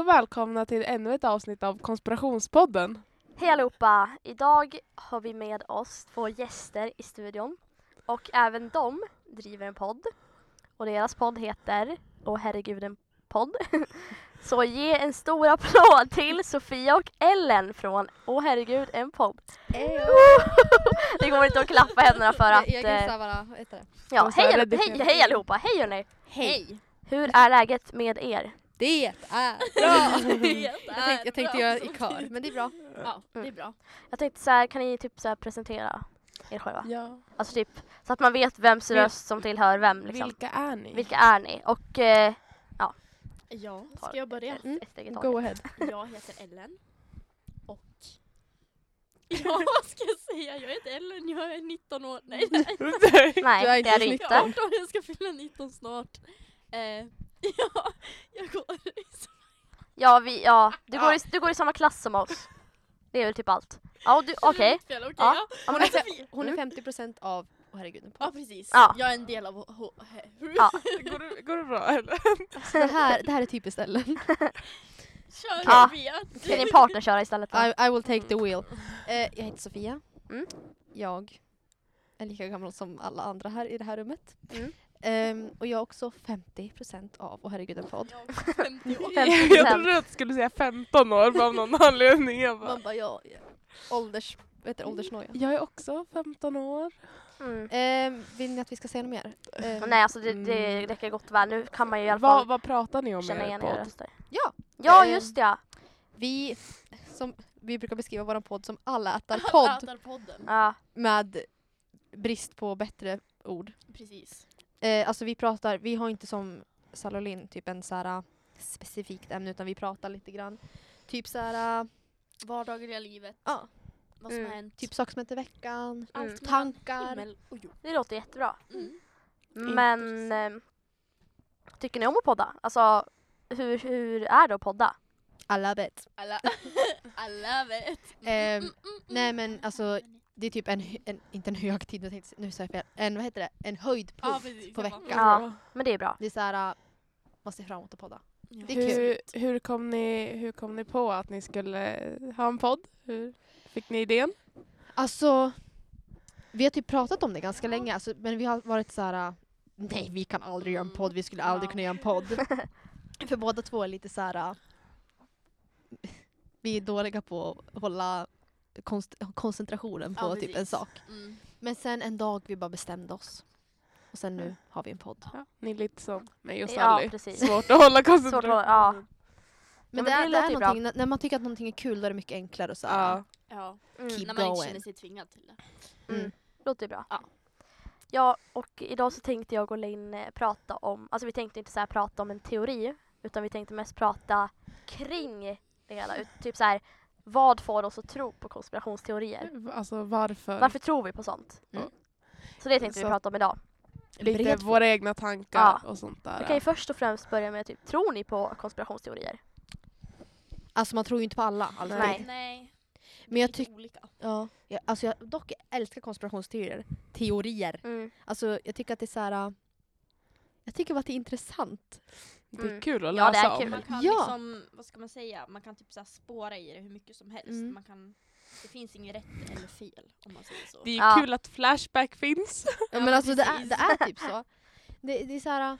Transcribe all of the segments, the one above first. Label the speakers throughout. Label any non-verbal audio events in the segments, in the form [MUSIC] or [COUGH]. Speaker 1: och välkomna till ännu ett avsnitt av Konspirationspodden.
Speaker 2: Hej allihopa! Idag har vi med oss två gäster i studion och även de driver en podd och deras podd heter Åh herregud en podd. [LAUGHS] Så ge en stor applåd till Sofia och Ellen från Åh herregud en podd. Det går inte att klappa händerna för att...
Speaker 3: Jag
Speaker 2: eh,
Speaker 3: gissar bara, vad heter det?
Speaker 2: Ja,
Speaker 1: Och så
Speaker 2: hej,
Speaker 1: är det
Speaker 2: allihop- hej,
Speaker 1: definitivt-
Speaker 2: hej allihopa! Hej hörni!
Speaker 3: Hej!
Speaker 2: Hur är läget med er?
Speaker 3: Det [LAUGHS] är bra! jag, tänkte,
Speaker 4: är
Speaker 3: jag tänkte
Speaker 4: bra
Speaker 3: göra
Speaker 4: som
Speaker 3: i kör, men det är bra.
Speaker 4: Ja, det är
Speaker 2: Mm.
Speaker 4: bra.
Speaker 2: Jag tänkte så här, kan ni typ så här presentera er själva?
Speaker 1: Ja.
Speaker 2: Alltså typ, så att man vet vems
Speaker 1: Vil-
Speaker 2: röst som tillhör vem liksom.
Speaker 1: Vilka är ni? [LAUGHS]
Speaker 2: Vilka är ni? Och eh,
Speaker 4: Ja,
Speaker 2: Ta
Speaker 4: ska jag börja?
Speaker 2: ett, ett steg i
Speaker 3: [LAUGHS]
Speaker 2: taget.
Speaker 1: Go ahead.
Speaker 4: Jag heter Ellen. Och... [LAUGHS] Ja, vad ska jag säga? Jag heter Ellen, jag är 19 år. Nej, nej.
Speaker 2: Nej,
Speaker 3: Du är
Speaker 2: det är
Speaker 3: inte
Speaker 2: du
Speaker 4: jag är
Speaker 2: inte.
Speaker 4: 18, jag ska fylla 19 snart. Eh, [LAUGHS] ja, jag går i samma-
Speaker 2: Ja, vi, ja. Du,
Speaker 4: Ja.
Speaker 2: Går i, du går i samma klass som oss. Det är väl typ allt. Ja, och du- okej.
Speaker 4: [LAUGHS] Fel, okej,
Speaker 2: Ja.
Speaker 4: ja.
Speaker 3: Hon är,
Speaker 4: Alltså,
Speaker 3: fe-
Speaker 4: vi-
Speaker 3: hon är 50% av, åh herregud, en
Speaker 4: ja,
Speaker 3: podd.
Speaker 4: precis.
Speaker 2: Ja.
Speaker 4: Jag är en del av... H- H- H-
Speaker 2: Ja.
Speaker 1: Går det, går det bra eller?
Speaker 3: det, här, det här är typiskt Ellen.
Speaker 4: Kör
Speaker 2: Ja.
Speaker 4: Sofia.
Speaker 2: Ska din partner köra istället då?
Speaker 3: I, I will take the wheel. Eh, jag heter Sofia.
Speaker 2: Mm.
Speaker 3: Jag är lika gammal som alla andra här i det här rummet.
Speaker 2: Mm.
Speaker 3: Ehm, och jag är också 50% av, åh herregud, en podd.
Speaker 4: Jag är 50 år.
Speaker 1: [LAUGHS]
Speaker 2: Fem-
Speaker 1: Jag trodde att du skulle säga 15 år bara av någon [LAUGHS] anledning. Jag, bara,
Speaker 3: Man bara, ja, ja. ålders, vad heter det, åldersnoja.
Speaker 1: jag är också 15 år.
Speaker 2: Mm.
Speaker 3: Ehm, vill ni att vi ska säga något mer? Ehm,
Speaker 2: Nej, alltså det, det räcker gott och väl. Nu kan man ju i alla
Speaker 1: Vad,
Speaker 2: fall
Speaker 1: vad pratar ni om i
Speaker 2: känna
Speaker 1: er
Speaker 2: igen era
Speaker 1: podd?
Speaker 2: röster.
Speaker 3: Ja.
Speaker 2: Ja,
Speaker 3: Eh,
Speaker 2: just det, ja.
Speaker 3: Vi, som, vi brukar beskriva vår podd som alla ätar
Speaker 4: Alla
Speaker 3: podd
Speaker 4: äter podden.
Speaker 2: ja.
Speaker 3: med brist på bättre ord.
Speaker 4: Precis.
Speaker 3: Eh, alltså vi pratar, vi har inte som Salolin typ en så här specifikt ämne utan vi pratar lite grann. Typ så här,
Speaker 4: Vardagliga livet.
Speaker 3: Ja.
Speaker 4: Vad som har
Speaker 2: Mm.
Speaker 4: hänt.
Speaker 3: typ saker som hänt i veckan,
Speaker 2: Mm.
Speaker 4: Allt mellan
Speaker 3: tankar.
Speaker 4: himmel och jord.
Speaker 2: Det låter jättebra.
Speaker 4: Mm.
Speaker 2: Men eh, tycker ni om att podda? Alltså, hur, hur är det att podda?
Speaker 3: Alla vet.
Speaker 4: Alla, alla vet.
Speaker 3: Ehm, nej men alltså det är typ en, hö- en inte en högtid, jag tänkte, nu sa jag fel, en, vad heter det, en
Speaker 4: Ja,
Speaker 3: höjdpunkt
Speaker 4: precis,
Speaker 3: på
Speaker 4: jag bara-
Speaker 3: veckan.
Speaker 2: Ja, men det är bra.
Speaker 3: Det är så här, ah, man ser fram emot att podda.
Speaker 4: Ja.
Speaker 3: Det är kul.
Speaker 1: Hur, hur, kom ni, hur kom ni på att ni skulle eh, ha en podd? Hur fick ni idén?
Speaker 3: Alltså, vi har typ pratat om det ganska länge, alltså, men vi har varit så här. äh, nej vi kan aldrig göra en podd, vi skulle aldrig
Speaker 4: Ja.
Speaker 3: kunna göra en podd. [LAUGHS] För båda två är lite så här. äh, vi är dåliga på att hålla konst- koncentrationen på
Speaker 4: Ja,
Speaker 3: typ en
Speaker 4: precis.
Speaker 3: sak.
Speaker 4: Mm.
Speaker 3: Men sen en dag vi bara bestämde oss. Och sen nu har vi en podd.
Speaker 1: Ja, ni är lite som mig och
Speaker 2: Ja,
Speaker 1: Sally. [LAUGHS]
Speaker 2: precis.
Speaker 1: Svårt att hålla
Speaker 2: Svårt att
Speaker 1: koncentration.
Speaker 2: hålla- ja. men
Speaker 3: Men,
Speaker 2: det
Speaker 3: det,
Speaker 2: låter
Speaker 3: är, det
Speaker 2: ju
Speaker 3: är
Speaker 2: bra.
Speaker 3: någonting, när man tycker att någonting är kul då är det mycket enklare och så här.
Speaker 1: Ja.
Speaker 4: Ja,
Speaker 2: Mm.
Speaker 3: Keep
Speaker 4: när man inte
Speaker 3: going.
Speaker 4: känner sig tvingad till det.
Speaker 3: Mm.
Speaker 2: Låter ju bra.
Speaker 4: Ja.
Speaker 2: Ja, och idag så tänkte jag och Linn eh, prata om, alltså vi tänkte inte så här prata om en teori, utan vi tänkte mest prata kring det hela. Ut- Typ så här, vad får oss att tro på konspirationsteorier?
Speaker 1: Alltså varför?
Speaker 2: Varför tror vi på sånt?
Speaker 3: Mm.
Speaker 2: Så det tänkte vi
Speaker 1: Så-
Speaker 2: prata om idag.
Speaker 1: Lite
Speaker 3: Bred-
Speaker 1: våra egna tankar och sånt
Speaker 2: Vi
Speaker 1: där.
Speaker 2: kan ju först och främst börja med typ, tror ni på konspirationsteorier?
Speaker 3: Alltså man tror ju inte på alla alltid.
Speaker 2: Nej.
Speaker 4: Typ, Nej.
Speaker 3: Men jag
Speaker 4: Lite
Speaker 3: tycker,
Speaker 4: olika.
Speaker 3: ja, jag, alltså jag dock älskar konspirationsteorier. Teorier.
Speaker 2: Mm.
Speaker 3: Alltså jag tycker att det är så här. Jag tycker bara att det
Speaker 2: [LAUGHS]
Speaker 3: är intressant.
Speaker 1: Det är
Speaker 2: Mm.
Speaker 1: kul att
Speaker 2: Ja, det är
Speaker 1: läsa
Speaker 2: kul.
Speaker 1: om.
Speaker 4: Man kan
Speaker 3: Ja.
Speaker 4: liksom, vad ska man säga, man kan typ så här spåra i det hur mycket som helst.
Speaker 3: Mm.
Speaker 4: Man kan, det finns inget rätt eller fel om man säger så.
Speaker 1: Det är
Speaker 2: Ja.
Speaker 1: kul att Flashback finns. [LAUGHS]
Speaker 3: Ja,
Speaker 4: Ja,
Speaker 3: men alltså det är,
Speaker 4: precis.
Speaker 3: det är
Speaker 2: [LAUGHS]
Speaker 3: typ så. Det, det är så här. äh,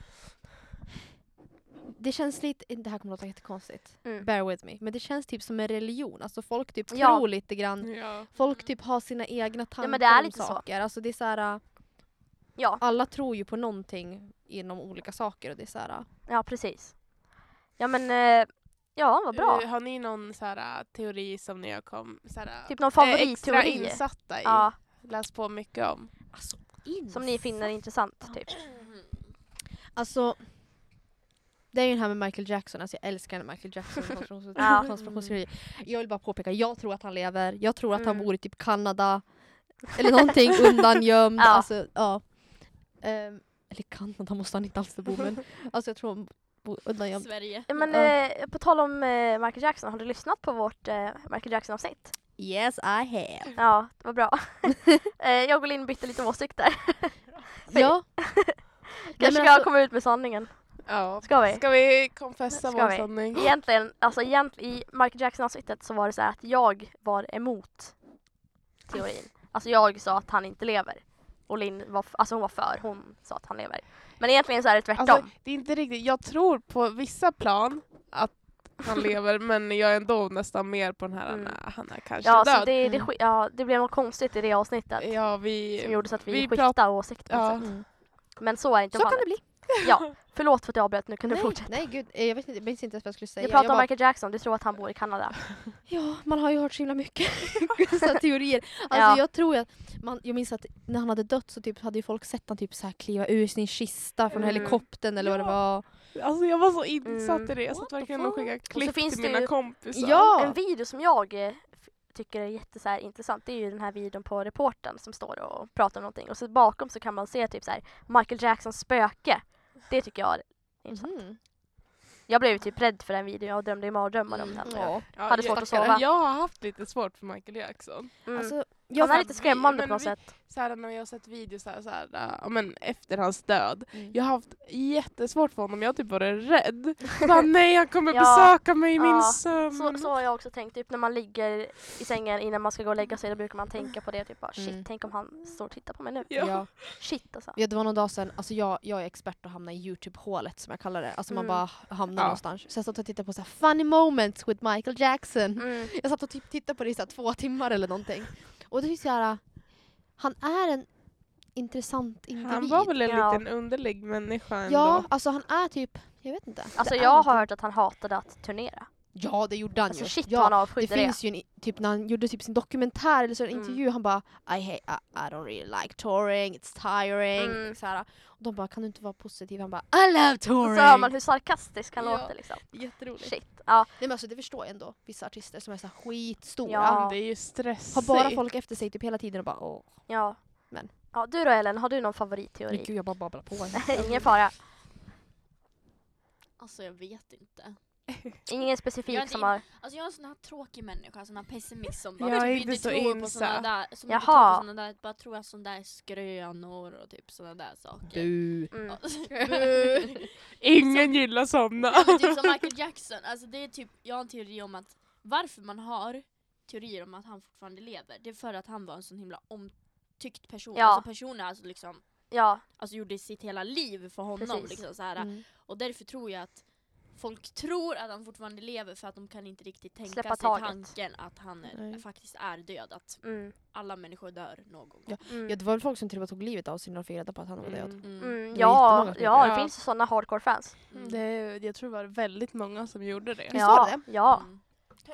Speaker 3: Det känns lite, det här kommer låta jättekonstigt.
Speaker 2: Mm.
Speaker 3: Bear with me. Men det känns typ som en religion. Alltså folk typ
Speaker 2: Ja. Mm.
Speaker 3: tror lite grann.
Speaker 1: Ja.
Speaker 3: Folk typ har sina egna tankar
Speaker 2: men det är
Speaker 3: om
Speaker 2: lite så.
Speaker 3: saker. Alltså det är så här,
Speaker 2: Ja.
Speaker 3: alla tror ju på någonting inom olika saker och det är så här.
Speaker 2: Ja, precis. Ja men, eh, ja vad bra.
Speaker 1: Eh, Har ni någon så här, äh, teori som ni har kom, så här,
Speaker 2: Typ någon
Speaker 1: eh, extra
Speaker 2: favoritteori?
Speaker 1: insatta i?
Speaker 2: Ja,
Speaker 1: Läst på mycket om?
Speaker 3: Alltså,
Speaker 2: som ni finner intressant typ.
Speaker 4: Mm.
Speaker 3: Alltså, det är ju den här med Michael Jackson, alltså jag älskar den Michael
Speaker 2: [LAUGHS]
Speaker 3: Jackson konspirations-
Speaker 2: Ja. Mm.
Speaker 3: konspirationsteorier. Jag vill bara påpeka, jag tror att han lever, jag tror att han
Speaker 2: Mm.
Speaker 3: bor i typ Kanada,
Speaker 2: [LAUGHS]
Speaker 3: eller någonting undangömd.
Speaker 2: Ja.
Speaker 3: Alltså, ja. Ehm, eller Kanada måste han inte alls bo men
Speaker 2: [LAUGHS]
Speaker 3: alltså jag tror han bor undangömd.
Speaker 4: Sverige.
Speaker 2: Ja, Men
Speaker 3: Ja.
Speaker 2: eh, på tal om eh, Michael Jackson, har du lyssnat på vårt eh, Michael Jackson-avsnitt?
Speaker 3: Yes I have.
Speaker 2: Ja, det var bra.
Speaker 3: [LAUGHS]
Speaker 2: [LAUGHS] eh, jag och Linn bytte lite åsikter.
Speaker 3: Ja. Nej,
Speaker 2: Kanske
Speaker 3: [LAUGHS] men
Speaker 2: jag
Speaker 3: alltså,
Speaker 2: kommer ut med sanningen.
Speaker 1: Ja.
Speaker 2: Ska vi?
Speaker 1: Ska vi confessa
Speaker 2: Ska
Speaker 1: vår
Speaker 2: vi?
Speaker 1: sanning?
Speaker 2: Egentligen, alltså egent, i Michael Jackson-avsnittet så var det så här att jag var emot teorin. Alltså jag sa att han inte lever. Och Linn var, f- alltså hon var för, hon sa att han lever. Men egentligen så är det tvärtom.
Speaker 1: Alltså, det är inte riktigt. Jag tror på vissa plan att han lever men jag är ändå nästan mer på den här
Speaker 2: Mm.
Speaker 1: "Nä, han är kanske
Speaker 2: ja,
Speaker 1: död.
Speaker 2: så det, det,
Speaker 3: Mm.
Speaker 2: sk- ja, det blev något konstigt i det avsnitt
Speaker 3: Eh,
Speaker 1: Ja, vi...
Speaker 2: som gjorde så att vi,
Speaker 1: vi
Speaker 2: skiftade åsikt. på
Speaker 1: ja.
Speaker 2: något sätt. Men så är inte
Speaker 3: Mm. Så kan
Speaker 2: fallet.
Speaker 3: det bli.
Speaker 2: Ja, förlåt för att jag avbröt, nu kan du
Speaker 3: Nej,
Speaker 2: fortsätta.
Speaker 3: nej gud, eh, jag vet inte, jag minns inte ens vad jag skulle säga.
Speaker 2: Vi pratar
Speaker 3: jag
Speaker 2: om
Speaker 3: bara-
Speaker 2: Michael Jackson, du tror att han bor i Kanada.
Speaker 3: Ja, man har ju hört så
Speaker 2: [LAUGHS]
Speaker 3: himla mycket [LAUGHS] så här teorier. Alltså
Speaker 2: Ja.
Speaker 3: jag tror att, man, jag minns att när han hade dött så typ hade ju folk sett han typ så här kliva ur sin kista från
Speaker 2: Mm.
Speaker 3: helikoptern eller vad det
Speaker 1: Ja.
Speaker 3: var.
Speaker 1: Alltså jag var så insatt
Speaker 2: Mm.
Speaker 1: i det. Jag satt
Speaker 4: What the
Speaker 1: verkligen och
Speaker 4: fuck?
Speaker 1: skickade klipp
Speaker 2: finns
Speaker 1: till
Speaker 2: det
Speaker 1: mina
Speaker 2: ju-
Speaker 1: kompisar.
Speaker 3: Ja!
Speaker 2: En video som jag eh, f- tycker är jätte, så här, intressant det är ju den här videon på reportern som står och pratar om någonting och så bakom så kan man se typ så här, Michael Jacksons spöke. Det tycker jag är intressant.
Speaker 3: Mhm.
Speaker 2: Jag blev typ rädd för den videon, jag drömde i mardrömmar om den. Alltså,
Speaker 3: Ja.
Speaker 1: Ja,
Speaker 2: hade
Speaker 1: jag-
Speaker 2: svårt att sova.
Speaker 1: Jag har haft lite svårt för Michael Jackson.
Speaker 2: Mm.
Speaker 3: Alltså, jag,
Speaker 2: Han är
Speaker 1: fan,
Speaker 2: lite skrämmande
Speaker 1: vi-
Speaker 2: på något
Speaker 1: men
Speaker 2: sätt.
Speaker 1: Så här, när jag har sett videos så här, så här, äh, ja, men efter hans död.
Speaker 3: Mm.
Speaker 1: Jag har haft jättesvårt för honom. Jag har typ varit rädd.
Speaker 2: [LAUGHS]
Speaker 1: Bara, nej, han kommer
Speaker 2: Ja.
Speaker 1: besöka mig i min
Speaker 2: Ja.
Speaker 1: sömn.
Speaker 2: Så, så har jag också tänkt, typ när man ligger i sängen innan man ska gå och lägga sig då brukar man tänka på det typ bara shit,
Speaker 3: Mm.
Speaker 2: tänk om han står och tittar på mig nu.
Speaker 1: Ja.
Speaker 3: Ja.
Speaker 2: Shit alltså.
Speaker 3: Ja, det var någon dag sedan, alltså jag, jag är expert på att hamna i Youtube-hålet som jag kallar det. Alltså man
Speaker 2: Mm.
Speaker 3: bara hamnar
Speaker 1: Ja.
Speaker 3: någonstans. Så jag satt och tittade på så här, funny moments with Michael Jackson.
Speaker 2: Mm.
Speaker 3: Jag satt och typ tittade på det i så här, två timmar eller någonting. Och det är ju så här, han är en intressant individ.
Speaker 1: Han var väl en
Speaker 2: Ja.
Speaker 1: liten underlig människa ändå.
Speaker 3: Ja, alltså han är typ, jag vet inte.
Speaker 2: Alltså
Speaker 3: Det är
Speaker 2: jag har
Speaker 3: någonting.
Speaker 2: hört att han hatade att turnera.
Speaker 3: Ja det gjorde han
Speaker 2: Alltså
Speaker 3: ju.
Speaker 2: shit vad
Speaker 3: ja,
Speaker 2: han
Speaker 3: det
Speaker 2: avskydde det.
Speaker 3: finns ju en, i- typ när han gjorde typ sin dokumentär eller så en
Speaker 2: Mm.
Speaker 3: intervju, han bara I, hate, I, I don't really like touring, it's tiring.
Speaker 2: Mm.
Speaker 3: Så här. Och de bara kan du inte vara positiv? Han bara I love
Speaker 2: Och
Speaker 3: touring!
Speaker 2: så hör man [LAUGHS] hur sarkastisk han
Speaker 3: Ja.
Speaker 2: låter liksom.
Speaker 3: Jätteroligt. Nej,
Speaker 2: Shit. Ja,
Speaker 3: men alltså, det förstår jag ändå, vissa artister som är så här skitstora.
Speaker 2: Ja.
Speaker 1: Det är ju stressigt.
Speaker 3: Har bara folk efter sig typ hela tiden och bara åh.
Speaker 2: ja.
Speaker 3: Men.
Speaker 2: Ja, du då Ellen, har du någon favoritteori?
Speaker 3: Gud jag bara
Speaker 2: [LAUGHS]
Speaker 3: babblar på. här.
Speaker 2: Ingen fara.
Speaker 4: Alltså jag vet inte.
Speaker 2: Ingen
Speaker 4: Jag är
Speaker 2: specifik
Speaker 4: inte
Speaker 2: som
Speaker 4: in-
Speaker 2: har...
Speaker 4: Alltså jag är en sån här tråkig människa, sån här pessimist som bara
Speaker 1: Jag är
Speaker 4: typ
Speaker 1: inte
Speaker 4: inte,
Speaker 1: så
Speaker 4: tror på
Speaker 1: insatt.
Speaker 4: såna där, som inte
Speaker 2: Jaha.
Speaker 4: tror på såna där, bara tror att såna där är skrönor och typ såna där saker.
Speaker 2: [LAUGHS]
Speaker 3: Du.
Speaker 2: Mm.
Speaker 1: [LAUGHS]
Speaker 4: [LAUGHS]
Speaker 1: Ingen gillar sådana.
Speaker 4: Ja, men typ som Michael Jackson, alltså det är typ, jag har en teori om att varför man har teorier om att han fortfarande lever, det är för att han var en sån himla omtyckt person.
Speaker 2: Ja.
Speaker 4: Alltså personer alltså liksom,
Speaker 2: Ja,
Speaker 4: alltså gjorde sitt hela liv för honom.
Speaker 2: Precis.
Speaker 4: Liksom, så här.
Speaker 3: Mm.
Speaker 4: Och därför tror jag att folk tror att han fortfarande lever för att de kan inte riktigt tänka
Speaker 2: Släppa
Speaker 4: sig
Speaker 2: taget.
Speaker 4: tanken att han är,
Speaker 3: Nej.
Speaker 4: faktiskt är död. Att
Speaker 2: mm.
Speaker 4: alla människor dör någon gång.
Speaker 3: Ja.
Speaker 2: Mm.
Speaker 3: Ja, det var väl folk som till och med tog livet av sig när de fick reda på att han var död.
Speaker 1: Mm.
Speaker 4: Mm.
Speaker 2: Mm. Ja,
Speaker 3: var jättemånga som
Speaker 2: ja, det
Speaker 1: gjorde det.
Speaker 2: finns ju sådana hardcore fans.
Speaker 4: Mm.
Speaker 1: Det, jag tror det var väldigt många som gjorde det.
Speaker 3: Visst
Speaker 2: Ja,
Speaker 3: var det
Speaker 2: ja.
Speaker 4: Mm.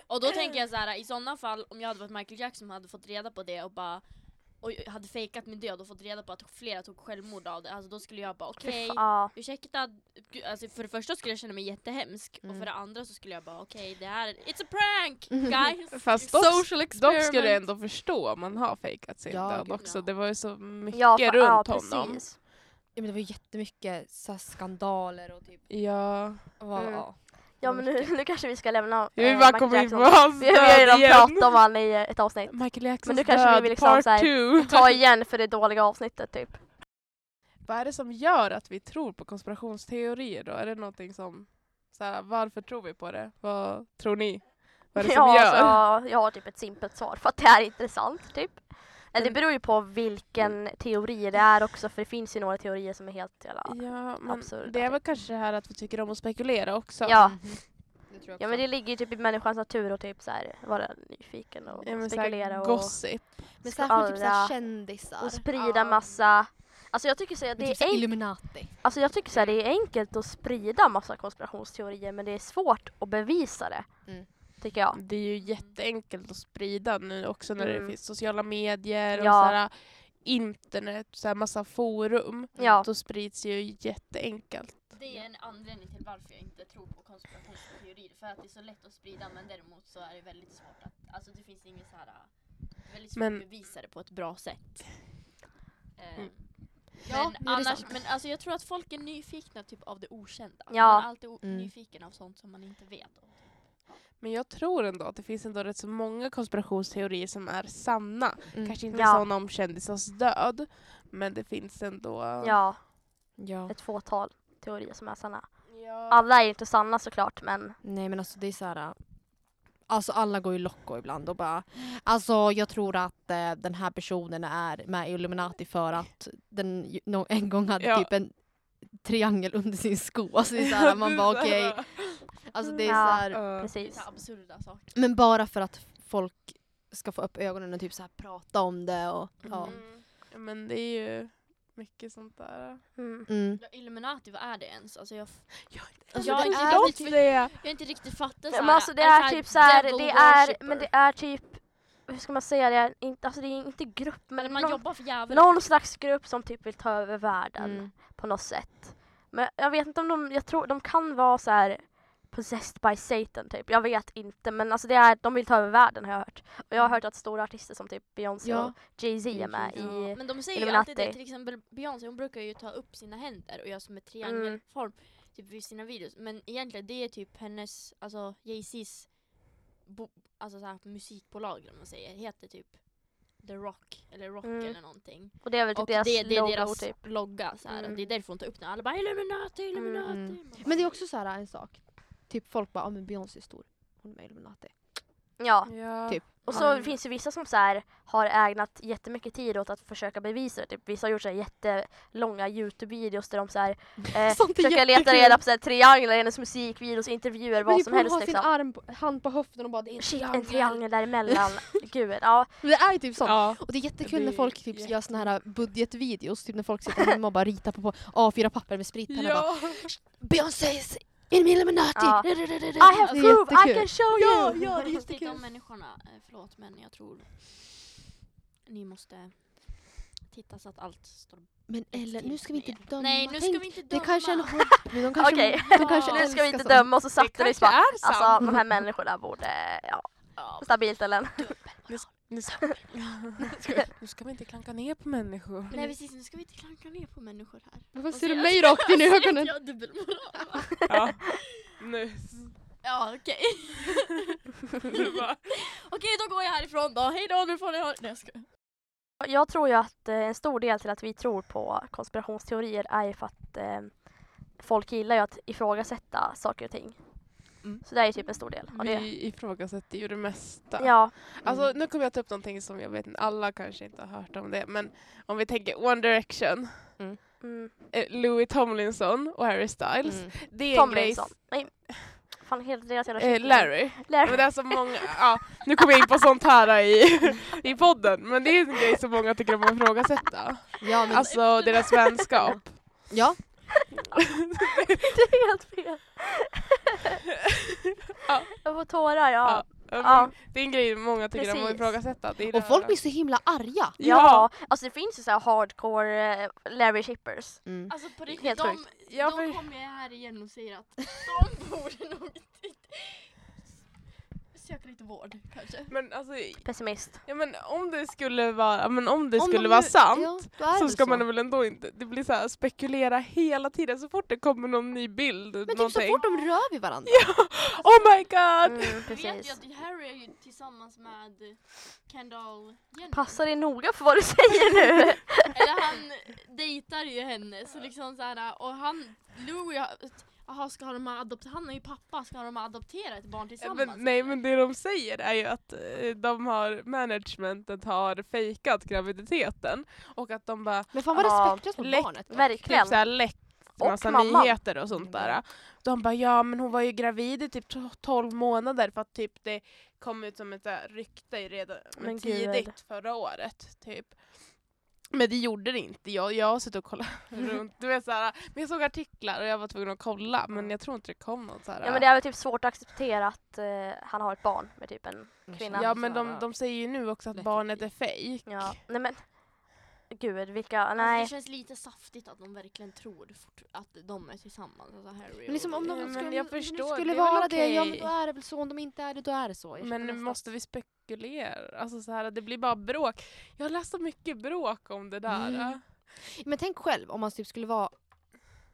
Speaker 4: Och då tänker jag så här: i sådana fall om jag hade varit Michael Jackson och hade fått reda på det och bara och jag hade fejkat min död och fått reda på att flera tog självmord av det, alltså då skulle jag bara okej,
Speaker 2: Fy fan.
Speaker 4: ursäkta, gud, alltså för det första skulle jag känna mig jättehemsk och
Speaker 3: Mm.
Speaker 4: för det andra så skulle jag bara okej det här, är- it's a prank guys!
Speaker 1: Fast dock,
Speaker 3: Social
Speaker 1: dock skulle jag ändå förstå om man har fejkat sin
Speaker 3: Ja,
Speaker 1: död
Speaker 3: gud,
Speaker 1: också.
Speaker 4: ja.
Speaker 1: Det var ju så mycket
Speaker 2: Ja, fa- ja,
Speaker 1: runt honom.
Speaker 2: precis.
Speaker 3: Ja, men det var ju jättemycket så här, skandaler och typ...
Speaker 1: Ja.
Speaker 3: Och,
Speaker 2: Mm.
Speaker 3: ja.
Speaker 2: Ja men nu, nu kanske vi ska lämna
Speaker 1: Jag vill
Speaker 2: eh,
Speaker 1: bara
Speaker 2: Michael
Speaker 1: komma in på
Speaker 2: Jackson.
Speaker 1: hans
Speaker 2: [LAUGHS] Vi vi
Speaker 1: död
Speaker 2: har ju
Speaker 1: [LAUGHS]
Speaker 2: redan
Speaker 1: igen.
Speaker 2: pratat om han i ett avsnitt.
Speaker 1: Michael Jacksons
Speaker 2: nu kanske vi
Speaker 1: död,
Speaker 2: vill liksom
Speaker 1: part
Speaker 2: så här-
Speaker 1: two.
Speaker 2: [LAUGHS] Ta igen för det dåliga avsnittet typ.
Speaker 1: Vad är det som gör att vi tror på konspirationsteorier då? Är det någonting som... Så här, varför tror vi på det? Vad tror ni? Vad är det som
Speaker 2: ja,
Speaker 1: gör?
Speaker 2: alltså, jag, jag har typ ett simpelt svar för att det är intressant typ. Eller det
Speaker 1: Men-
Speaker 2: beror ju på vilken teori det är också för det finns ju några teorier som är helt jävla...
Speaker 1: Ja, men
Speaker 2: absurda,
Speaker 1: det är
Speaker 2: typ.
Speaker 1: väl kanske det här att vi tycker om att spekulera också.
Speaker 2: Ja,
Speaker 3: Mhm. Det tror jag
Speaker 2: ja
Speaker 3: också.
Speaker 2: men det ligger ju typ i människans natur och typ så här, vara nyfiken och
Speaker 1: Ja, men så här
Speaker 2: spekulera och,
Speaker 1: Gossip.
Speaker 3: men
Speaker 2: ska
Speaker 3: särskilt typ så här
Speaker 2: alla-
Speaker 3: kändisar.
Speaker 2: och
Speaker 3: Och
Speaker 2: sprida
Speaker 1: Ja.
Speaker 2: massa... Alltså jag tycker så här,
Speaker 3: det
Speaker 2: det
Speaker 3: typ
Speaker 2: är
Speaker 3: är
Speaker 2: enk-
Speaker 3: Illuminati.
Speaker 2: Alltså jag tycker så här, det är enkelt att sprida massa konspirationsteorier men det är svårt att bevisa det.
Speaker 3: Mm.
Speaker 2: Tycker jag.
Speaker 1: Det är ju jätteenkelt att sprida nu också när
Speaker 2: Mm.
Speaker 1: det finns sociala medier och
Speaker 2: Ja.
Speaker 1: så här, internet, så här massa forum.
Speaker 2: Ja.
Speaker 1: Då sprids ju jätteenkelt.
Speaker 4: Det är en anledning till varför jag inte tror på konspirationsteorier. För att det är så lätt att sprida men däremot så är det väldigt svårt att, alltså det finns inget så här, det är väldigt svårt
Speaker 1: Men-
Speaker 4: att bevisa det på ett bra
Speaker 2: [LAUGHS]
Speaker 4: sätt. Eh,
Speaker 1: Mm.
Speaker 3: Ja,
Speaker 4: men
Speaker 3: det är
Speaker 4: annars,
Speaker 3: sant.
Speaker 4: men alltså jag tror att folk är nyfikna typ av det okända.
Speaker 2: Ja.
Speaker 4: Man är alltid o-
Speaker 3: Mm.
Speaker 4: nyfiken av sånt som man inte vet. om.
Speaker 1: Men jag tror ändå att det finns ändå rätt så många konspirationsteorier som är sanna.
Speaker 3: Mm.
Speaker 1: Kanske inte
Speaker 2: Ja.
Speaker 1: sådana om kändisars död, men det finns ändå
Speaker 2: Ja,
Speaker 3: Ja.
Speaker 2: ett fåtal teorier som är sanna.
Speaker 1: Ja.
Speaker 2: Alla är ju inte sanna såklart men
Speaker 3: Nej men alltså det är så här. Alltså alla går ju locko ibland och bara Alltså jag tror att eh, den här personen är med i Illuminati för att den ju- nå- en gång hade
Speaker 1: Ja.
Speaker 3: typ en triangel under sin [LAUGHS] sko. Alltså det är så här, man bara okej. Alltså det är
Speaker 2: Ja.
Speaker 3: så
Speaker 1: [LAUGHS]
Speaker 3: här,
Speaker 1: Ja.
Speaker 4: Det är
Speaker 2: precis.
Speaker 4: så här absurda saker.
Speaker 3: Men bara för att folk ska få upp ögonen och typ så här prata om det och ja.
Speaker 1: Mm. Men det är ju mycket sånt där.
Speaker 2: Mm.
Speaker 3: Mm.
Speaker 4: Ja, Illuminati, vad är det ens? Alltså jag, f-
Speaker 1: Jag har inte
Speaker 3: Alltså,
Speaker 4: Jag har inte riktigt för-
Speaker 1: det.
Speaker 4: jag har inte riktigt fattat. så
Speaker 2: Men
Speaker 4: här,
Speaker 2: alltså det
Speaker 4: så
Speaker 2: är
Speaker 4: här
Speaker 2: typ så här,
Speaker 4: devil
Speaker 2: det är,
Speaker 4: worshipper?
Speaker 2: men det är typ, hur ska man säga det, inte, alltså det är inte grupp
Speaker 4: Eller
Speaker 2: men
Speaker 4: man
Speaker 2: någon,
Speaker 4: jobbar för djävulen.
Speaker 2: någon slags grupp som typ vill ta över världen
Speaker 3: Mm.
Speaker 2: på något sätt. Men jag vet inte om de, jag tror de kan vara så här possessed by Satan typ, jag vet inte men alltså det är, de vill ta över världen har jag hört. Och
Speaker 4: Mm.
Speaker 2: jag har hört att stora artister som typ Beyoncé
Speaker 3: Ja.
Speaker 2: och Jay-Z är
Speaker 3: Mm,
Speaker 2: med
Speaker 3: Jay-Z.
Speaker 2: i,
Speaker 4: Men de säger ju
Speaker 2: Illuminati.
Speaker 4: alltid det, till exempel Beyoncé hon brukar ju ta upp sina händer och göra som en
Speaker 2: Mm.
Speaker 4: triangelform typ vid sina videos. Men egentligen det är typ hennes, alltså Jay-Z's bo- alltså så här, musikbolag eller vad man säger, heter typ The Rock eller Rock
Speaker 2: Mm.
Speaker 4: eller någonting.
Speaker 2: och det är väl typ
Speaker 4: Och
Speaker 2: deras
Speaker 4: det, det är
Speaker 2: logo
Speaker 4: deras
Speaker 2: typ.
Speaker 4: logga så här.
Speaker 2: Mm.
Speaker 4: det är därför hon tar upp den. Alla bara Illuminati, Illuminati.
Speaker 3: Mm.
Speaker 4: Man bara,
Speaker 3: Men det är också så här en sak. Typ folk bara, ja men Beyoncé är stor. Hon är med i Illuminati.
Speaker 2: Ja.
Speaker 1: Ja.
Speaker 3: Typ.
Speaker 2: Och så
Speaker 1: Mm.
Speaker 2: finns det vissa som så här, har ägnat jättemycket tid åt att försöka bevisa det. Typ, vissa har gjort så här, jättelånga Youtube-videos där de så
Speaker 3: [LAUGHS]
Speaker 2: här, eh,
Speaker 3: Sånt är
Speaker 2: försöker leta
Speaker 3: jättekul.
Speaker 2: reda på så här, trianglar i hennes musikvideos, intervjuer,
Speaker 3: Men
Speaker 2: vad
Speaker 3: typ
Speaker 2: som
Speaker 3: hon
Speaker 2: helst.
Speaker 3: har sin
Speaker 2: Liksom.
Speaker 3: arm, på- hand på höften och bara det är en
Speaker 2: Shit,
Speaker 3: triangel.
Speaker 2: en triangel
Speaker 3: [LAUGHS]
Speaker 2: däremellan. Gud, ja.
Speaker 3: Det är ju typ sånt.
Speaker 1: Ja.
Speaker 3: Och det är jättekul
Speaker 1: Det
Speaker 3: när
Speaker 1: är
Speaker 3: folk typ
Speaker 1: jätte-
Speaker 3: gör såna här budgetvideos, typ när folk sitter hemma och bara ritar på på A4-papper med spritpenna och bara
Speaker 1: Ja.
Speaker 3: Beyoncé in Illuminati!
Speaker 2: Ja.
Speaker 3: I
Speaker 2: I have proof, I can show
Speaker 3: Ja,
Speaker 2: you!
Speaker 3: ja, det är
Speaker 4: Fast inte Alltså, om
Speaker 3: jättekul.
Speaker 4: människorna, Eh, förlåt men jag tror ni måste titta så att allt står
Speaker 3: Men Ellen, nu ska vi inte
Speaker 4: Nej.
Speaker 3: döma.
Speaker 4: Nej, nu ska
Speaker 3: Tänk,
Speaker 4: vi inte döma.
Speaker 3: Det kanske är en hobby. De kanske,
Speaker 2: Okej.
Speaker 3: de kanske
Speaker 2: Nu ska vi inte
Speaker 3: älskar sånt.
Speaker 2: döma och så satt
Speaker 1: Det
Speaker 2: den
Speaker 1: kanske
Speaker 2: bara,
Speaker 1: är sant.
Speaker 2: alltså de här människorna borde, ja,
Speaker 4: Ja, typ.
Speaker 2: stabilt eller?
Speaker 1: Nu
Speaker 2: [LAUGHS]
Speaker 1: ska, [LAUGHS] nu ska vi inte klanka ner på människor.
Speaker 4: Nej precis, nu ska vi inte klanka ner på människor här.
Speaker 3: Varför
Speaker 4: Och
Speaker 3: ser du
Speaker 4: så-
Speaker 3: mig rakt in i
Speaker 4: Ser inte
Speaker 3: ögonen?
Speaker 4: [LAUGHS] jag dubbelmoral va?
Speaker 1: [LAUGHS] Ja. Nu.
Speaker 4: Ja [LAUGHS] okej. Okej då går jag härifrån då, hejdå nu får ni ha... Nej jag skojar.
Speaker 2: Jag tror ju att eh, en stor del till att vi tror på konspirationsteorier är ju för att eh, folk gillar ju att ifrågasätta saker och ting.
Speaker 1: Mm.
Speaker 2: Så det är ju typ en stor del av det.
Speaker 1: Vi ifrågasätter ju det mesta.
Speaker 2: Ja,
Speaker 1: Alltså, nu kommer jag ta upp någonting som jag vet inte, alla kanske inte har hört om det, men om vi tänker One Direction,
Speaker 2: mm.
Speaker 1: eh, Louis Tomlinson och Harry Styles.
Speaker 3: Mm.
Speaker 1: Det är en grej...
Speaker 2: Tomlinson. Nej, fan heter deras jävla
Speaker 1: Eh,
Speaker 2: kyckling?
Speaker 1: Larry.
Speaker 2: [LAUGHS] Larry.
Speaker 1: Men det är så många,
Speaker 2: [LAUGHS]
Speaker 1: ja, nu kommer jag in på sånt här eh, i, [LAUGHS] i podden, men det är en grej som många tycker om att ifrågasätta.
Speaker 2: Mm.
Speaker 3: Ja, men,
Speaker 1: Alltså deras vänskap.
Speaker 3: ja.
Speaker 2: det är helt fel.
Speaker 1: [LAUGHS] Ja.
Speaker 2: Jag får tårar, ja.
Speaker 1: Ja.
Speaker 2: Ja.
Speaker 1: Det är en grej många tycker om att
Speaker 2: Precis.
Speaker 1: ifrågasätta. Det är
Speaker 3: Och
Speaker 1: det-
Speaker 3: folk blir så himla arga.
Speaker 2: Ja. alltså det finns ju så här hardcore eh, Larry Shippers.
Speaker 3: Mm.
Speaker 4: Alltså på riktigt,
Speaker 2: Helt
Speaker 4: de,
Speaker 2: sjukt.
Speaker 1: Ja,
Speaker 4: de
Speaker 1: för-
Speaker 4: kommer jag här igen och säger [LAUGHS] att de borde nog inte- söka lite vård kanske.
Speaker 1: Men alltså,
Speaker 2: Pessimist.
Speaker 1: ja, men om det skulle vara, men om det
Speaker 3: Om de
Speaker 1: skulle
Speaker 3: nu-
Speaker 1: vara sant
Speaker 3: ja, då är
Speaker 1: så
Speaker 3: det
Speaker 1: ska man väl ändå inte, det blir så här spekulera hela tiden så fort det kommer någon ny bild.
Speaker 3: Men typ så
Speaker 1: någonting.
Speaker 3: fort de rör vid varandra.
Speaker 1: Oh my god!
Speaker 2: Mm,
Speaker 4: Du vet ju
Speaker 2: precis.
Speaker 4: att Harry är ju tillsammans med Kendall Jenner.
Speaker 2: Passa dig noga för vad du
Speaker 1: [LAUGHS]
Speaker 2: säger nu.
Speaker 4: Eller han dejtar ju henne så liksom så här, och han, Louis, har- jaha ska de ha adopt- han är ju pappa, ska de ha adopterat ett barn
Speaker 1: Ja,
Speaker 4: tillsammans?
Speaker 1: Eh, Men, nej men det de säger är ju att eh, de har, managementet har fejkat graviditeten och att de bara
Speaker 3: Men fan vad
Speaker 2: Ja.
Speaker 3: respektlöst mot
Speaker 1: Läck-
Speaker 3: barnet.
Speaker 1: typ
Speaker 2: Verkligen.
Speaker 1: såhär läckt
Speaker 2: Och Mm.
Speaker 1: massa
Speaker 2: mamman.
Speaker 1: nyheter och sånt där. De bara ja men hon var ju gravid i typ to- 12 månader för att typ det kom ut som ett så här rykte redan
Speaker 2: Men gud.
Speaker 1: tidigt förra året typ. Men det gjorde det inte. Jag, jag har suttit och kollat [LAUGHS] runt. Du vet, så här, men jag såg artiklar och jag var tvungen att kolla men jag tror inte det kom något så här.
Speaker 2: Ja men det är väl typ svårt att acceptera att eh, han har ett barn med typ en...
Speaker 3: Mm.
Speaker 2: kvinnan.
Speaker 1: Ja, men de, de säger ju nu också att
Speaker 3: Lätt
Speaker 1: barnet är fejk.
Speaker 2: Ja, nej men. Gud vilka,
Speaker 4: Alltså, det
Speaker 2: nej.
Speaker 4: känns lite saftigt att de verkligen tror fort- att de är tillsammans. Alltså Harry
Speaker 3: Men liksom om de
Speaker 1: Ja,
Speaker 3: skulle,
Speaker 1: men
Speaker 3: om
Speaker 1: jag
Speaker 3: det nu
Speaker 1: förstår,
Speaker 3: skulle
Speaker 1: det är väl
Speaker 3: vara det, ja men
Speaker 1: okej.
Speaker 3: då är det väl så. Om de inte är det, då är det så. Jag köper
Speaker 1: Men nu
Speaker 3: nästan.
Speaker 1: måste vi spekulera? Alltså så här, det blir bara bråk. Jag har läst så mycket bråk om det där.
Speaker 3: Mm. men tänk själv om man typ skulle vara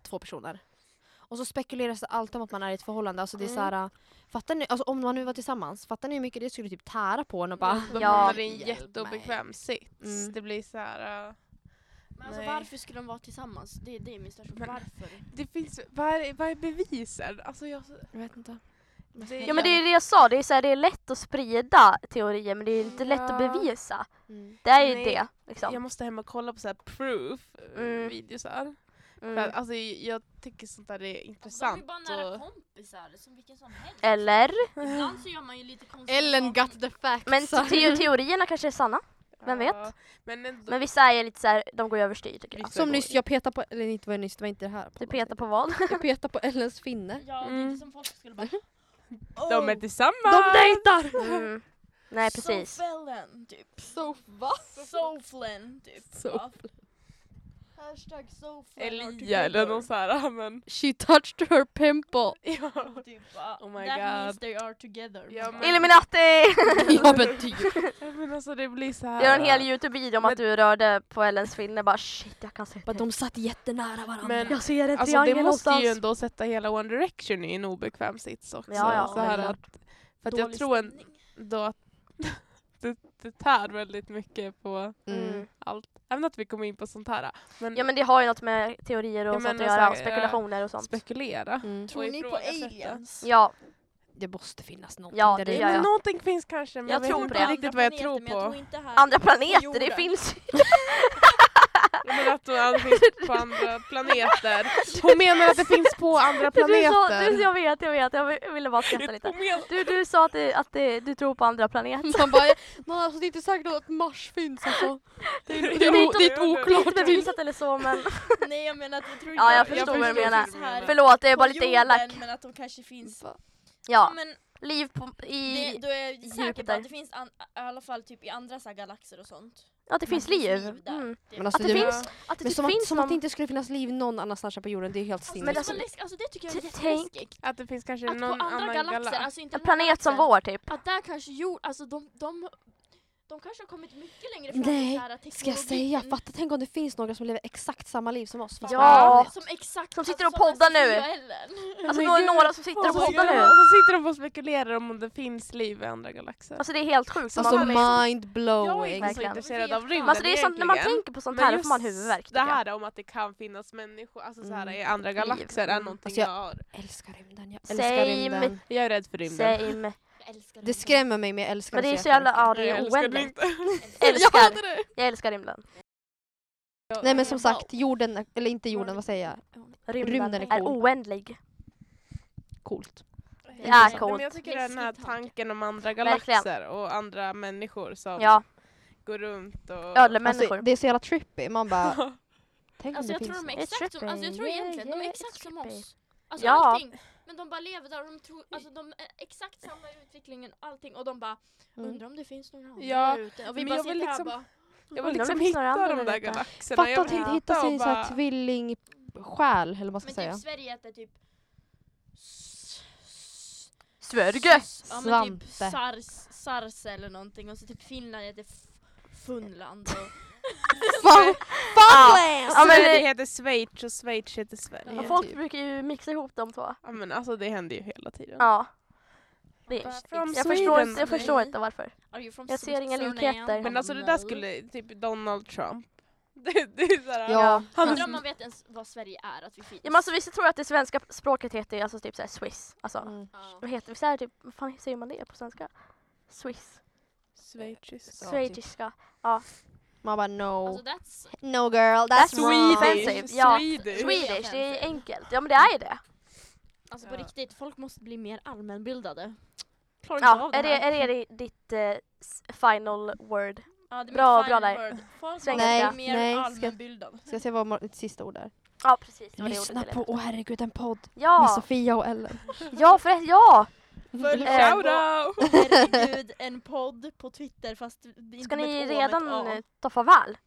Speaker 3: två personer. Och så spekuleras det alltid om att man är i ett förhållande. Alltså det är
Speaker 1: Mm.
Speaker 3: såhär, fattar ni, alltså om man nu var tillsammans, fattar ni hur mycket det skulle typ tära på en och bara
Speaker 1: De
Speaker 2: Ja.
Speaker 1: hamnar i en
Speaker 3: Hjälp mig.
Speaker 1: jätteobekväm sits.
Speaker 3: Mm.
Speaker 1: Det blir så här... äh,
Speaker 4: Men alltså,
Speaker 1: Nej.
Speaker 4: varför skulle de vara tillsammans? Det, det är min största
Speaker 1: Men-
Speaker 4: fråga. Alltså, Varför?
Speaker 1: Det finns, vad är, vad är bevisen? Alltså jag,
Speaker 3: Jag vet inte.
Speaker 1: det,
Speaker 2: Ja men det är det jag sa, det är, så här, det är lätt att sprida teorier men det är inte lätt att
Speaker 1: Ja.
Speaker 2: bevisa.
Speaker 3: Mm.
Speaker 2: Det är ju
Speaker 1: Nej,
Speaker 2: det. Liksom.
Speaker 1: jag måste hem och kolla på så här
Speaker 2: Mm.
Speaker 1: proof-videos där. För
Speaker 2: Mm.
Speaker 1: att, alltså, jag tycker sånt där är
Speaker 4: Alltså, de är ju
Speaker 1: intressant.
Speaker 4: bara nära
Speaker 1: och...
Speaker 4: kompisar som vilken som helst.
Speaker 2: Eller?
Speaker 4: Ibland så gör man ju lite konstiga
Speaker 3: Ellen
Speaker 4: saker.
Speaker 3: got the facts.
Speaker 2: Men typ- te- teorierna kanske är sanna. Vem vet?
Speaker 1: Ja, Men ändå,
Speaker 2: Men vissa är lite så här, de går ju överstyr tycker jag.
Speaker 1: Vissa-
Speaker 3: Som nyss, jag petar på, eller inte var det nyss, det var inte det här.
Speaker 2: Du petar på vad?
Speaker 3: Jag petar på Ellens finne.
Speaker 4: Ja, det är
Speaker 1: Mm.
Speaker 4: inte som folk skulle bara "Oh,
Speaker 1: de är tillsammans!
Speaker 3: De
Speaker 2: [LAUGHS]
Speaker 3: dejtar!
Speaker 2: Mm. Nej precis.
Speaker 4: Sofellen, typ.
Speaker 3: Så va?
Speaker 4: Soflen, typ.
Speaker 3: So-
Speaker 4: Ja. Hashtag soflen.
Speaker 1: Elia eller någon sån här. Men,
Speaker 3: She touched
Speaker 2: [LAUGHS]
Speaker 3: her pimple.
Speaker 1: ja.
Speaker 4: Typ, ja.
Speaker 1: Oh my
Speaker 4: That means
Speaker 1: God.
Speaker 4: they are together.
Speaker 1: Ja, men-
Speaker 2: Illuminati!
Speaker 3: ja men typ.
Speaker 1: men alltså det blir så här.
Speaker 2: Gör en hel youtube-video om
Speaker 1: Men-
Speaker 2: att du rörde på Ellens finne bara shit jag kan se det.
Speaker 3: De satt jättenära varandra.
Speaker 1: Men-
Speaker 2: Jag ser en
Speaker 1: Alltså det
Speaker 2: triangel
Speaker 1: måste
Speaker 2: någonstans.
Speaker 1: ju ändå sätta hela One Direction i en obekväm sits också.
Speaker 2: Ja, ja,
Speaker 1: så här
Speaker 2: men-
Speaker 1: att, för att jag tror en, då att [LAUGHS] det, det tär väldigt mycket på
Speaker 2: Mm.
Speaker 1: allt. Även att vi kommer in på sånt här. Men,
Speaker 2: Ja men det har ju något med teorier och
Speaker 1: Ja, men alltså, eh, och
Speaker 2: sånt att
Speaker 1: så
Speaker 2: göra
Speaker 1: här,
Speaker 2: och spekulationer och sånt.
Speaker 1: spekulera.
Speaker 3: Mm.
Speaker 1: Tror ni på aliens?
Speaker 2: Ja,
Speaker 3: Det måste finnas någonting
Speaker 2: Ja,
Speaker 3: där
Speaker 2: det
Speaker 3: i.
Speaker 2: gör
Speaker 1: Men
Speaker 2: jag.
Speaker 1: någonting finns kanske men
Speaker 2: Jag
Speaker 1: jag, vet
Speaker 2: tror
Speaker 1: inte
Speaker 2: på det.
Speaker 1: riktigt vad jag tror på.
Speaker 4: Men jag tror inte här.
Speaker 2: andra planeter, det
Speaker 4: jorden.
Speaker 2: finns
Speaker 1: Jag menar att de
Speaker 2: [LAUGHS]
Speaker 1: finns på andra planeter. Hon menar att det finns på andra
Speaker 2: [LAUGHS] Du, du sa,
Speaker 1: planeter.
Speaker 2: du, jag vet, jag vet, jag ville bara skratta lite. Du, du sa att, det, att det, du tror på
Speaker 1: [LAUGHS]
Speaker 2: andra planeter.
Speaker 3: [LAUGHS] Man bara, man har alltså, det är inte säkert att Mars finns alltså. Det är, det är,
Speaker 2: är
Speaker 3: o- det är ett
Speaker 2: Inte
Speaker 3: oklart bild.
Speaker 2: bevisat eller så men
Speaker 4: Nej jag menar att jag tror inte
Speaker 2: Ja, jag
Speaker 4: att-
Speaker 2: förstår
Speaker 4: tror
Speaker 1: vad du
Speaker 4: inte att
Speaker 2: menar.
Speaker 4: det finns här
Speaker 2: förlåt det är
Speaker 4: på
Speaker 2: bara lite
Speaker 4: jorden,
Speaker 2: elak.
Speaker 4: Men att de kanske finns.
Speaker 3: typ.
Speaker 2: Ja,
Speaker 4: Men
Speaker 2: liv på,
Speaker 4: det,
Speaker 2: i,
Speaker 4: då är jag säker på
Speaker 2: Jupiter.
Speaker 4: att det finns an, i alla fall typ i andra så här galaxer och sånt.
Speaker 2: att det finns liv.
Speaker 4: där.
Speaker 2: Mm.
Speaker 4: Det-
Speaker 3: Men alltså,
Speaker 2: Att det
Speaker 3: det-
Speaker 2: finns, att det
Speaker 3: Men
Speaker 2: typ
Speaker 3: som, att,
Speaker 2: finns
Speaker 3: som att det
Speaker 2: någon...
Speaker 3: inte skulle finnas liv någon annanstans här på jorden, det är helt
Speaker 4: Alltså, det,
Speaker 3: sinnes.
Speaker 4: är så läskigt. alltså, det tycker jag är
Speaker 2: T- tänk-
Speaker 4: jätteläskigt.
Speaker 1: Att det finns kanske
Speaker 4: Att på
Speaker 1: någon
Speaker 4: andra
Speaker 1: annan
Speaker 4: galaxer,
Speaker 1: galax.
Speaker 4: alltså inte
Speaker 2: En
Speaker 4: den här
Speaker 2: planet som
Speaker 4: galaxen,
Speaker 2: vår typ.
Speaker 4: Att där kanske jord, alltså de, de, de kanske har kommit mycket längre fram
Speaker 3: Nej,
Speaker 4: i så här
Speaker 3: Ska jag säga, fatta tänk om det finns några som lever exakt samma liv som oss. fast
Speaker 1: Ja.
Speaker 3: de är andra.
Speaker 4: Som exakt
Speaker 2: Som sitter och
Speaker 4: alltså,
Speaker 2: poddar
Speaker 4: som
Speaker 2: nu.
Speaker 4: Sofia och Ellen.
Speaker 2: Alltså
Speaker 1: Men
Speaker 2: några,
Speaker 1: gud,
Speaker 2: några som sitter och
Speaker 1: Och så,
Speaker 2: poddar
Speaker 1: Alltså, ja,
Speaker 2: nu.
Speaker 1: och så sitter de och spekulerar om det finns liv i andra galaxer.
Speaker 2: Alltså det är helt sjukt. som
Speaker 3: Alltså
Speaker 2: man liksom,
Speaker 3: mind
Speaker 1: jag är
Speaker 3: blowing.
Speaker 1: inte så
Speaker 2: verkligen.
Speaker 1: intresserad av rymden
Speaker 2: men alltså det är sånt, när man
Speaker 1: egentligen.
Speaker 2: tänker på sånt
Speaker 1: Men
Speaker 2: här då får man
Speaker 1: just
Speaker 2: huvudvärk. tycker
Speaker 1: Det
Speaker 2: jag.
Speaker 1: här om att det kan finnas människor alltså så här, i andra galaxer är
Speaker 2: Mm.
Speaker 1: någonting
Speaker 3: Alltså,
Speaker 1: jag
Speaker 3: jag-
Speaker 1: har.
Speaker 3: Jag älskar rymden, jag
Speaker 2: Same.
Speaker 3: älskar rymden.
Speaker 1: Jag är rädd för rymden. [LAUGHS]
Speaker 2: Same.
Speaker 4: Jag älskar
Speaker 3: Det skrämmer mig men jag älskar
Speaker 2: Men det är
Speaker 3: så
Speaker 2: så jävla, ja
Speaker 1: Jag
Speaker 2: det är
Speaker 1: älskar
Speaker 2: oändligt.
Speaker 1: rymden. [LAUGHS]
Speaker 2: Älskar.
Speaker 1: Jag hade det.
Speaker 2: Jag älskar rymden.
Speaker 1: Jag-
Speaker 3: Nej men som
Speaker 4: Wow.
Speaker 3: sagt, jorden, eller inte jorden, vad säger jag?
Speaker 2: Rymden,
Speaker 3: Rymden är
Speaker 2: är,
Speaker 3: cool.
Speaker 2: oändlig.
Speaker 3: Coolt.
Speaker 2: Det är
Speaker 1: Nej,
Speaker 2: coolt.
Speaker 1: men jag tycker den här
Speaker 4: Läskig tanke.
Speaker 1: tanken om andra
Speaker 2: Verkligen.
Speaker 1: galaxer och andra människor som
Speaker 2: Ja,
Speaker 1: går runt och...
Speaker 3: Alltså,
Speaker 2: ödlemänniskor.
Speaker 3: det är så jävla trippy, man bara... tänk om
Speaker 4: Alltså
Speaker 3: det
Speaker 4: jag tror
Speaker 3: finns
Speaker 4: de är
Speaker 2: något.
Speaker 4: exakt som, alltså jag
Speaker 2: It's
Speaker 4: tror
Speaker 2: trippy.
Speaker 4: egentligen de
Speaker 2: Yeah,
Speaker 4: är
Speaker 2: yeah,
Speaker 4: exakt
Speaker 2: it's
Speaker 4: som
Speaker 2: trippy.
Speaker 4: oss. Alltså
Speaker 2: Ja.
Speaker 4: allting. Men de bara lever där och de tror, alltså de är exakt samma i utvecklingen och allting och de bara
Speaker 3: Mm.
Speaker 4: undrar om det finns några andra
Speaker 1: Ja,
Speaker 4: där ute. Och vi
Speaker 1: men
Speaker 4: bara
Speaker 1: jag
Speaker 4: sitter
Speaker 1: vill
Speaker 4: här och
Speaker 1: liksom-
Speaker 4: bara
Speaker 1: Jag vill
Speaker 2: Undrar om
Speaker 1: liksom
Speaker 2: det finns några
Speaker 1: hitta
Speaker 2: andra
Speaker 1: de där
Speaker 2: där ute.
Speaker 1: galaxerna.
Speaker 3: Fatta
Speaker 1: jag
Speaker 3: att
Speaker 1: vill
Speaker 3: inte
Speaker 2: Ja.
Speaker 3: hitta
Speaker 1: och
Speaker 3: sin så här
Speaker 1: bara-
Speaker 3: tvillingsjäl, eller vad man ska
Speaker 4: Men
Speaker 3: säga.
Speaker 4: typ Sverige heter typ s- s-
Speaker 2: Svörge!
Speaker 4: s- Ja men
Speaker 3: Svampe.
Speaker 4: typ sars, sarse eller någonting och så typ Finland heter f- Funland och
Speaker 3: Fan!
Speaker 2: Ja, men
Speaker 1: Sverige
Speaker 2: det-
Speaker 1: heter Schweiz och Schweiz heter Sverige.
Speaker 2: Men
Speaker 3: Ja.
Speaker 2: folk
Speaker 3: typ.
Speaker 2: brukar ju mixa ihop de två.
Speaker 1: Ja, men alltså det händer ju hela tiden.
Speaker 2: Ja. Det,
Speaker 1: From
Speaker 2: jag, förstår
Speaker 1: Sweden.
Speaker 2: inte, jag förstår inte varför.
Speaker 4: Are you from
Speaker 2: Jag ser inga
Speaker 4: Switzerland?
Speaker 2: likheter.
Speaker 1: Men alltså det där skulle, typ Donald Trump. [LAUGHS] Det, det är så här,
Speaker 3: Ja.
Speaker 1: Han-
Speaker 4: Undrar om man vet ens vad Sverige är, att vi finns.
Speaker 2: Ja, men alltså, vissa tror att det svenska språket heter alltså, typ såhär swiss. Alltså,
Speaker 3: Mm.
Speaker 4: Ja.
Speaker 2: vad heter, visst är det typ, vad fan säger man det på svenska? Swiss.
Speaker 1: Schweiz.
Speaker 3: Ja, typ.
Speaker 2: Schweiziska.
Speaker 3: Man bara no.
Speaker 4: Alltså that's
Speaker 3: no girl, that's,
Speaker 2: That's
Speaker 3: wrong.
Speaker 2: Swedish. offensive. Ja.
Speaker 1: Swedish.
Speaker 4: Sweden.
Speaker 2: Swedish, det är enkelt. Ja men det är ju det.
Speaker 4: alltså
Speaker 1: Ja.
Speaker 4: på riktigt, folk måste bli mer allmänbildade. Klarar inte
Speaker 2: Ja,
Speaker 4: av det
Speaker 2: är det,
Speaker 4: här.
Speaker 2: är det ditt eh, s- final word?
Speaker 4: Ja, det är
Speaker 2: bra-
Speaker 4: mitt
Speaker 2: bra
Speaker 4: final
Speaker 2: där.
Speaker 4: word. Folk måste
Speaker 2: Svengelska.
Speaker 4: bli mer
Speaker 3: Nej, nej, ska-
Speaker 2: [LAUGHS]
Speaker 4: allmänbildade.
Speaker 3: Ska jag se vad mitt sista ord är?
Speaker 2: Ja precis, det var det ordet
Speaker 3: Lyssna
Speaker 2: jag
Speaker 3: på
Speaker 2: letade.
Speaker 3: Åh herregud en podd med
Speaker 2: Ja,
Speaker 3: Sofia och Ellen.
Speaker 2: ja förresten, ja!
Speaker 4: Följ
Speaker 2: Eh,
Speaker 1: Shoutout!
Speaker 4: Herregud, en podd på Twitter fast det är inte
Speaker 2: Ska
Speaker 4: med
Speaker 2: ni
Speaker 4: ett Å, med
Speaker 2: redan
Speaker 4: ett A.
Speaker 2: eh, ta farväl?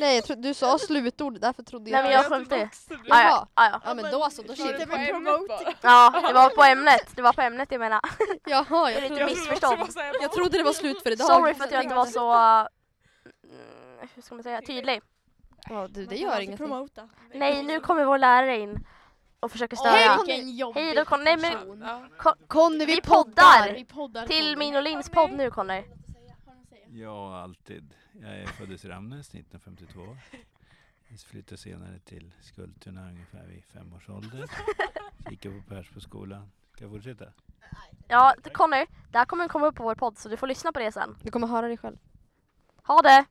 Speaker 3: Nej jag trodde du sa slutordet därför trodde
Speaker 2: Nej,
Speaker 3: jag...
Speaker 2: men jag
Speaker 1: [LAUGHS]
Speaker 2: skämtar ju.
Speaker 1: ju.
Speaker 2: Ah, ja,
Speaker 3: Jaha.
Speaker 2: ah, ja.
Speaker 3: Ja men då så, då
Speaker 1: Kör
Speaker 3: kör
Speaker 1: du
Speaker 3: vi.
Speaker 1: på ämnet bara?
Speaker 2: ja, det var på ämnet, det var på ämnet jag menar.
Speaker 3: Jaha,
Speaker 2: Det är
Speaker 3: jag
Speaker 1: Jag
Speaker 2: lite
Speaker 3: trodde,
Speaker 1: trodde
Speaker 2: missförstånd.
Speaker 1: också bara säga-
Speaker 3: jag trodde det var slut för idag.
Speaker 2: Sorry för att jag inte var så... eh, mm, hur ska man säga? Tydlig.
Speaker 3: Ja, du, det
Speaker 4: Man kan
Speaker 3: gör
Speaker 4: alltid
Speaker 3: ingenting.
Speaker 4: promota.
Speaker 2: Nej, nu kommer vår lärare in och försöker
Speaker 4: Åh,
Speaker 2: störa.
Speaker 4: vilken jobbig
Speaker 2: Hej då, Conny, men-
Speaker 4: person.
Speaker 1: Ja.
Speaker 3: Conny
Speaker 2: Vi
Speaker 3: vi
Speaker 2: poddar.
Speaker 3: poddar!
Speaker 4: Vi poddar
Speaker 2: Till
Speaker 4: Conny.
Speaker 2: min och Linns podd nu Conny.
Speaker 5: Ja, alltid. Jag är föddes i Ramnäs 1952. flyttade senare till Skultuna ungefär vid fem års ålder. Gick jag på Pers på skolan. Ska jag fortsätta?
Speaker 2: Ja, t- Connor, det här kommer komma upp på vår podd så du får lyssna på det sen.
Speaker 3: Du kommer höra dig själv.
Speaker 2: Ha det!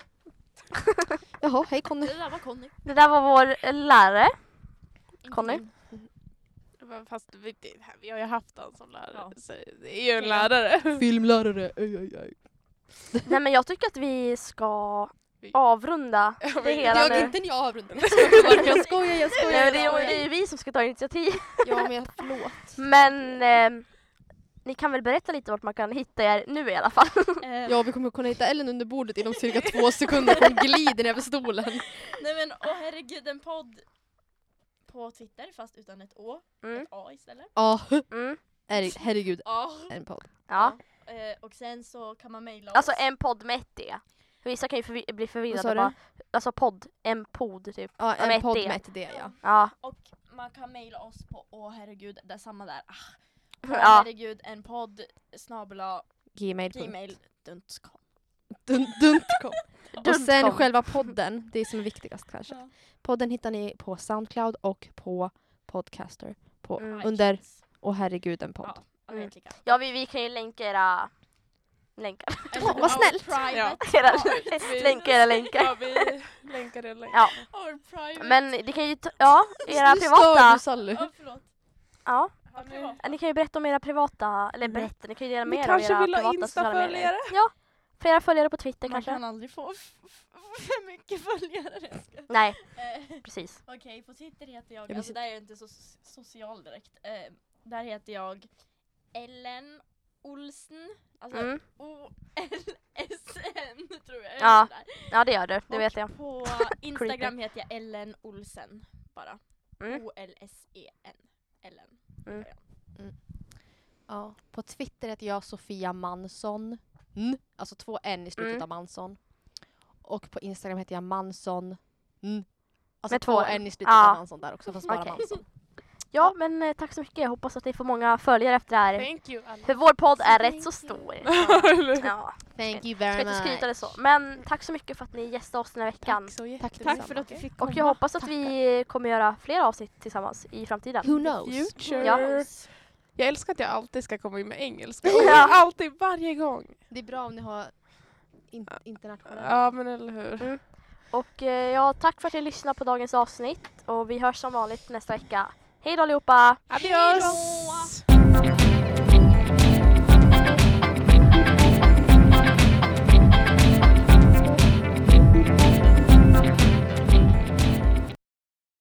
Speaker 3: Jaha, hej Conny.
Speaker 4: Det där var Conny.
Speaker 2: Det där var vår eh, [LAUGHS] lärare.
Speaker 4: Inte
Speaker 2: Conny?
Speaker 4: min.
Speaker 1: Men Fast vi, det här- vi har ju haft han som lärare.
Speaker 4: Ja.
Speaker 1: Så det är ju en
Speaker 2: [LAUGHS]
Speaker 4: Ja.
Speaker 1: lärare.
Speaker 3: Filmlärare. Aj, aj, aj.
Speaker 2: Nej men jag tycker att vi ska
Speaker 1: Vi-
Speaker 2: [LAUGHS] avrunda det hela
Speaker 3: Jag,
Speaker 2: nu.
Speaker 3: inte när jag avrundar. Jag skojar, [LAUGHS] jag skojar. Jag skojar.
Speaker 2: Nej, men det, är, det är ju vi som ska ta initiativ.
Speaker 3: Ja, men jag, förlåt.
Speaker 2: Men ehm, ni kan väl berätta lite vart man kan hitta er nu i alla fall. [LAUGHS]
Speaker 4: Eh,
Speaker 3: Ja, vi kommer kunna hitta Ellen under bordet inom cirka två sekunder. Hon glider ner för stolen.
Speaker 4: Nej men åh herregud, en podd på Twitter fast utan ett Å.
Speaker 2: Mm.
Speaker 4: Ett A istället.
Speaker 3: Ja,
Speaker 2: Mm.
Speaker 3: her- herregud.
Speaker 4: Ja.
Speaker 3: En podd.
Speaker 2: Ja.
Speaker 4: Eh, och sen så kan man mejla oss.
Speaker 2: Alltså en podd med ett D. Vissa kan ju förvi- bli
Speaker 3: Vad sa
Speaker 2: förvirrade.
Speaker 3: du?
Speaker 2: Bara, alltså podd, en pod typ.
Speaker 3: Ja,
Speaker 2: med
Speaker 3: en
Speaker 2: ett
Speaker 3: podd
Speaker 2: D.
Speaker 3: med ett D, ja.
Speaker 2: Ja.
Speaker 4: Och man kan mejla oss på åh herregud, det är samma där. Ah, åh
Speaker 2: ja.
Speaker 4: herregud, en podd snabela
Speaker 3: Gmail.com.
Speaker 4: gmail.com.
Speaker 3: Duntcom.
Speaker 4: [LAUGHS]
Speaker 3: Och sen
Speaker 2: Duntcom.
Speaker 3: själva podden, det är som är viktigast kanske.
Speaker 4: Ja.
Speaker 3: Podden hittar ni på Soundcloud och på Podcaster. På,
Speaker 2: Mm.
Speaker 3: Under och herregud en podd.
Speaker 4: Ja, och
Speaker 2: Mm.
Speaker 4: det
Speaker 2: [LAUGHS]
Speaker 4: klickar.
Speaker 2: Ja, vi, vi kan ju länka era [LAUGHS] länkar.
Speaker 4: Eller
Speaker 3: vad
Speaker 4: our
Speaker 3: snällt.
Speaker 4: private-
Speaker 2: Era,
Speaker 1: vi-
Speaker 2: länka era länkar.
Speaker 1: Ja, vi länkar det länkar.
Speaker 2: Ja,
Speaker 4: our private-
Speaker 2: men det kan ju, ta- ja, era
Speaker 3: Nu stör du,
Speaker 2: privata,
Speaker 3: Sally.
Speaker 4: Ja, förlåt.
Speaker 2: ja,
Speaker 4: Our privat.
Speaker 2: ni kan ju berätta om era privata, eller berätta, ni kan ju dela med
Speaker 1: Ni
Speaker 2: er av
Speaker 1: kanske
Speaker 2: era
Speaker 1: vill ha
Speaker 2: privata sociala medier.
Speaker 1: instaföljare?
Speaker 2: Ja, för era följare på Twitter
Speaker 4: Man
Speaker 2: kanske.
Speaker 4: kan aldrig få f- f- för mycket följare. jag ska-
Speaker 2: Nej,
Speaker 4: Eh,
Speaker 2: precis.
Speaker 4: Okej, på Twitter heter jag,
Speaker 3: vill
Speaker 4: alltså
Speaker 3: se-
Speaker 4: där är jag inte så so- social direkt. Eh, där heter jag Ellen Olsen, alltså
Speaker 2: Mm.
Speaker 4: O-L-S-N [LAUGHS] tror jag.
Speaker 2: Ja,
Speaker 4: Där.
Speaker 2: Ja, det gör du, det
Speaker 4: Och
Speaker 2: vet jag. [LAUGHS]
Speaker 4: På Instagram heter jag Ellen Olsen bara.
Speaker 2: Mm.
Speaker 4: O-L-S-E-N. E Ellen.
Speaker 3: Ja. På Twitter heter jag Sofia Mansson. Mm. Alltså två N i slutet
Speaker 2: Mm.
Speaker 3: av Mansson. Och på Instagram heter jag Mansson. Mm. Alltså
Speaker 2: Med
Speaker 3: två
Speaker 2: två N.
Speaker 3: N i slutet
Speaker 2: Ja.
Speaker 3: av Mansson där också fast bara
Speaker 2: Okej. [LAUGHS]
Speaker 3: Mansson.
Speaker 2: Ja, men eh, tack så mycket. Jag hoppas att ni får många följare efter det här.
Speaker 1: Thank you alla. [LAUGHS]
Speaker 2: För vår podd är
Speaker 4: Thank
Speaker 2: rätt så
Speaker 4: you.
Speaker 2: stor.
Speaker 3: [LAUGHS]
Speaker 1: Eller hur?
Speaker 2: Ja,
Speaker 3: Thank you
Speaker 2: jag ska
Speaker 3: very
Speaker 2: inte skryta
Speaker 3: much.
Speaker 2: eller så. Men tack så mycket för att ni gästade oss den här veckan.
Speaker 1: Tack så
Speaker 3: Tack,
Speaker 1: jättemycket.
Speaker 3: tack för att
Speaker 4: vi fick
Speaker 2: Och jag hoppas att vi kommer göra fler avsnitt tillsammans i framtiden.
Speaker 3: Who knows?
Speaker 1: Future.
Speaker 2: Ja.
Speaker 1: Jag älskar att jag alltid ska komma in med [LAUGHS] engelska.
Speaker 2: Ja.
Speaker 1: Alltid, varje gång.
Speaker 3: Det är bra om ni har in- internationella.
Speaker 1: Ja Mm. men eller hur.
Speaker 2: Och eh, ja, tack för att ni lyssnade på dagens avsnitt och vi hörs som vanligt nästa vecka. Hej då allihopa!
Speaker 1: Adios!